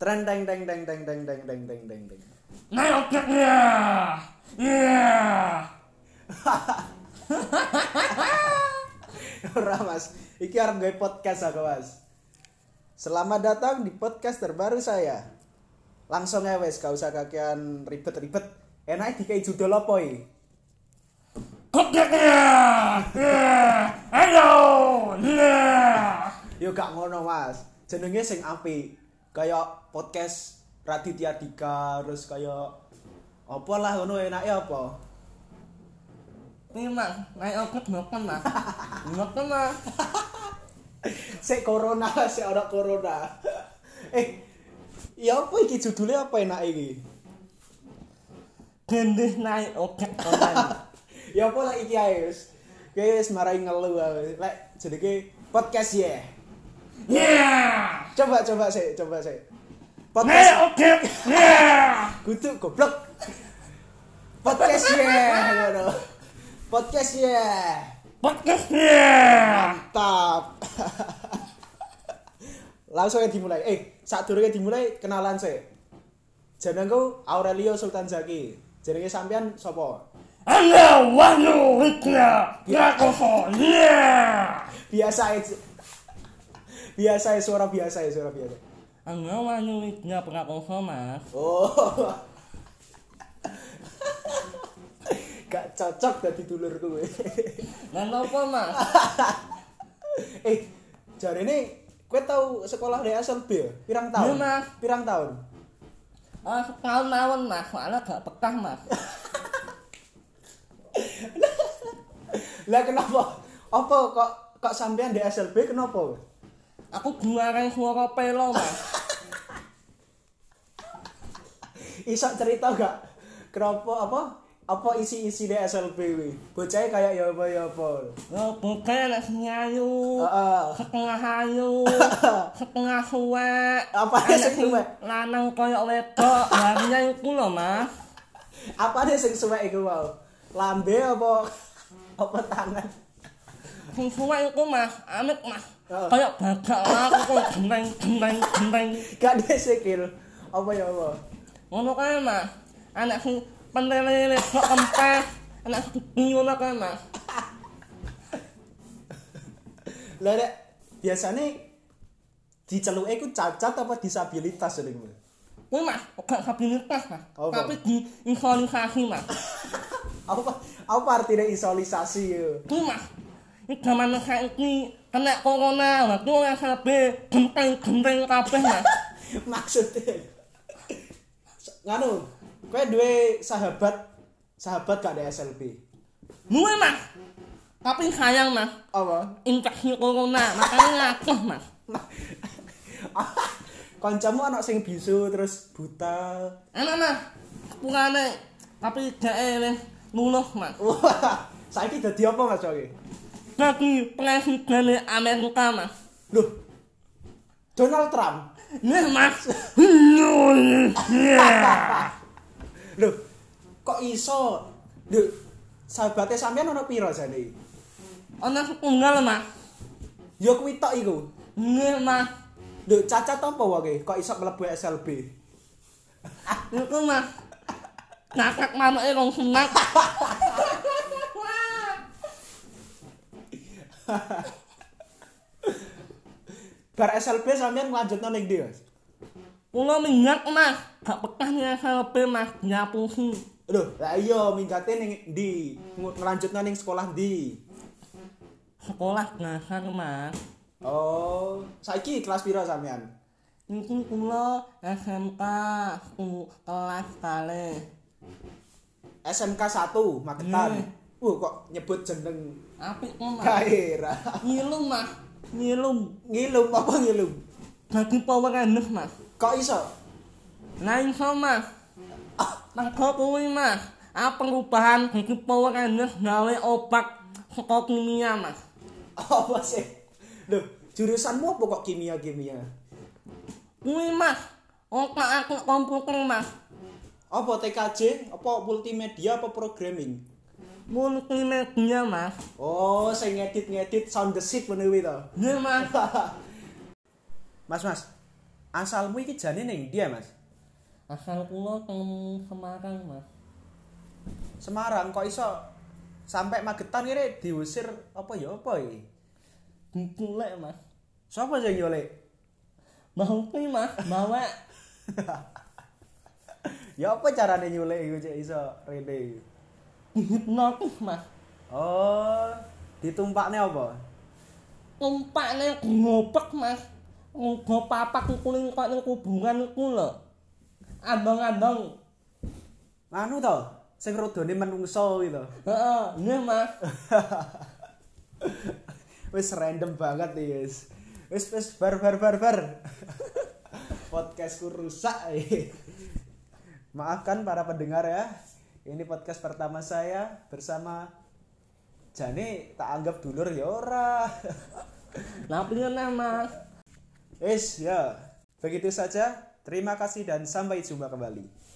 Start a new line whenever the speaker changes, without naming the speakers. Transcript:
Teng teng teng teng teng teng teng teng teng teng teng.
Nail yeah. Yeah.
Ora Mas, iki arep gawe podcast aku Mas. Selamat datang di podcast terbaru saya. Langsung ae wes, gak usah kakean ribet-ribet. Enak dikai judul apa iki?
Yeah. Yeah. Hello. Yeah.
Yo gak ngono Mas. Jenenge sing apik. Kayak podcast Raditya Dika, terus kayak apa lah ngono enaknya apa?
Ini mah, naik obat ngeken mah. Ngeken mah.
Sik corona, sik ora corona. eh, ya apa iki judulnya apa enak iki?
Gendih naik obat online.
ya apa lah iki ae wis. Kowe wis marai ngelu ae. Lek jenenge podcast ya.
Yeah.
Coba coba sik, coba sik. Podcast
Nail obat. Yeah.
kudu goblok. Podcast ya. ngono. Podcast ya.
Podcast yeah.
Mantap. Langsung aja dimulai. Eh, saat dimulai kenalan sik. Jenengku Aurelio Sultan Zaki. Jenenge sampean sapa?
Hello, Wahyu Wikna. Yakovo. Yeah.
Biasa ae. Biasa ae, suara biasa ae, suara biasa.
Halo, Wahyu Wikna. Prakoso, mas.
Oh. Gak cocok dadi dulur kowe.
Dan apa, mas?
eh, jarene ini kowe tau sekolah dari asal B ya? Pirang tahun?
Iya, Mas.
Pirang tahun?
Ah, setahun mawon mas, soalnya gak pekah mas.
Lah kenapa? Apa kok kok sampean di SLB kenapa?
Aku juareng suara pelo mas.
Isak cerita gak? Kenapa apa? Apa isi-isi di SLB kuwi? Bocahnya kayak ya apa ya apa.
Yo, bukan nek nyayu,
Heeh.
setengah hayu, setengah suwek.
Apa sing
Enek sing
suwek?
Lanang koyo wedok, larinya iku lho mas.
Apa deh sing suwek iku mau? Lambe apa apa tangan?
Sing suwek iku mas, amit mas.
Heeh.
Koyo bagak lah, aku jemeng, jemeng, jemeng.
Gak ada sikil. Apa ya apa?
Ngono kae mas, anak sing pentele kok kempes, anak sing ngono kae mas.
Lah rek, biasane diceluke iku cacat apa disabilitas sering kuwi.
Kuwi mas, gak kapilitas mas,
Apa?
tapi diisolisasi mas.
Apa apa artine isolisasi yo?
Kuwi mas, ini zaman saiki kena corona, waktu yang sampe genteng-genteng kabeh mas.
Maksudnya nganu, kowe duwe sahabat sahabat gak ada SLB.
Mulai mas, tapi sayang mas,
Apa?
infeksi corona, makanya ngakuh mas.
Kancamu anak sing bisu terus buta.
Enak mas, sepulane, tapi gak eleh luluh mas.
Wah, saiki dadi apa Mas Oke?
Jadi presiden Amerika mas.
Loh. Donald Trump.
Nih mas, yeah.
Loh, kok iso? Loh, sahabate sampean ono pira jane?
Ono sepunggal mas,
Ya kuwi tok iku.
nih mas.
Lho, cacat apa wae kok iso mlebu SLB?
Itu mas Ngakak manuknya rong sunat
Bar SLB sampean lanjutno ning ndi, Mas?
Pulau minyak mas Gak pekah nih SLB mas Nyapuhi
Lho, lah iya minggate ning ndi? Ng- Ngelanjutno ning sekolah ndi?
Sekolah dasar mas
Oh, saiki kelas pira sampean?
Ini pulau SMK ku- Kelas kali
SMK 1 Magetan.
Hmm.
Wuh, kok nyebut jeneng
Apik kok mas
daerah.
Ngilum mas Ngilum
Ngilum apa ngilum?
Jadi power rangers mas
Kok iso?
Nah iso mas Mergo kuwi mas Apa perubahan jadi power rangers Gawe obat Seko kimia mas
Apa sih? Lho, jurusanmu apa kok kimia-kimia?
Kuwi mas, otak aku komputer mas,
Apa TKJ? Apa multimedia apa programming?
multimedia mas,
Oh, saya ngedit-ngedit sound the shit menewi to.
iya mas,
Mas Mas, asalmu iki jane ning dia Mas
Asal kula teng Semarang, Mas.
Semarang kok iso sampai Magetan kene diusir apa ya apa iki
Diculek, Mas.
sapa sing nyolek
Mau kuwi, Mas, bawa
ya apa carane nyolek iku cek iso rene iku?
dihipnotis, Mas.
oh ditumpakne apa
Tumpakne ngopek, Mas. Ngogo papak kuling kok ning kuburan iku lho. Ambang-ambang.
anu to sing rodone menungso gitu
Heeh, nggih, Mas.
wis random banget nih guys wis wis bar bar bar bar podcastku rusak eh. maafkan para pendengar ya ini podcast pertama saya bersama Jani tak anggap dulur ya ora
Lah piye Mas?
Is ya begitu saja terima kasih dan sampai jumpa kembali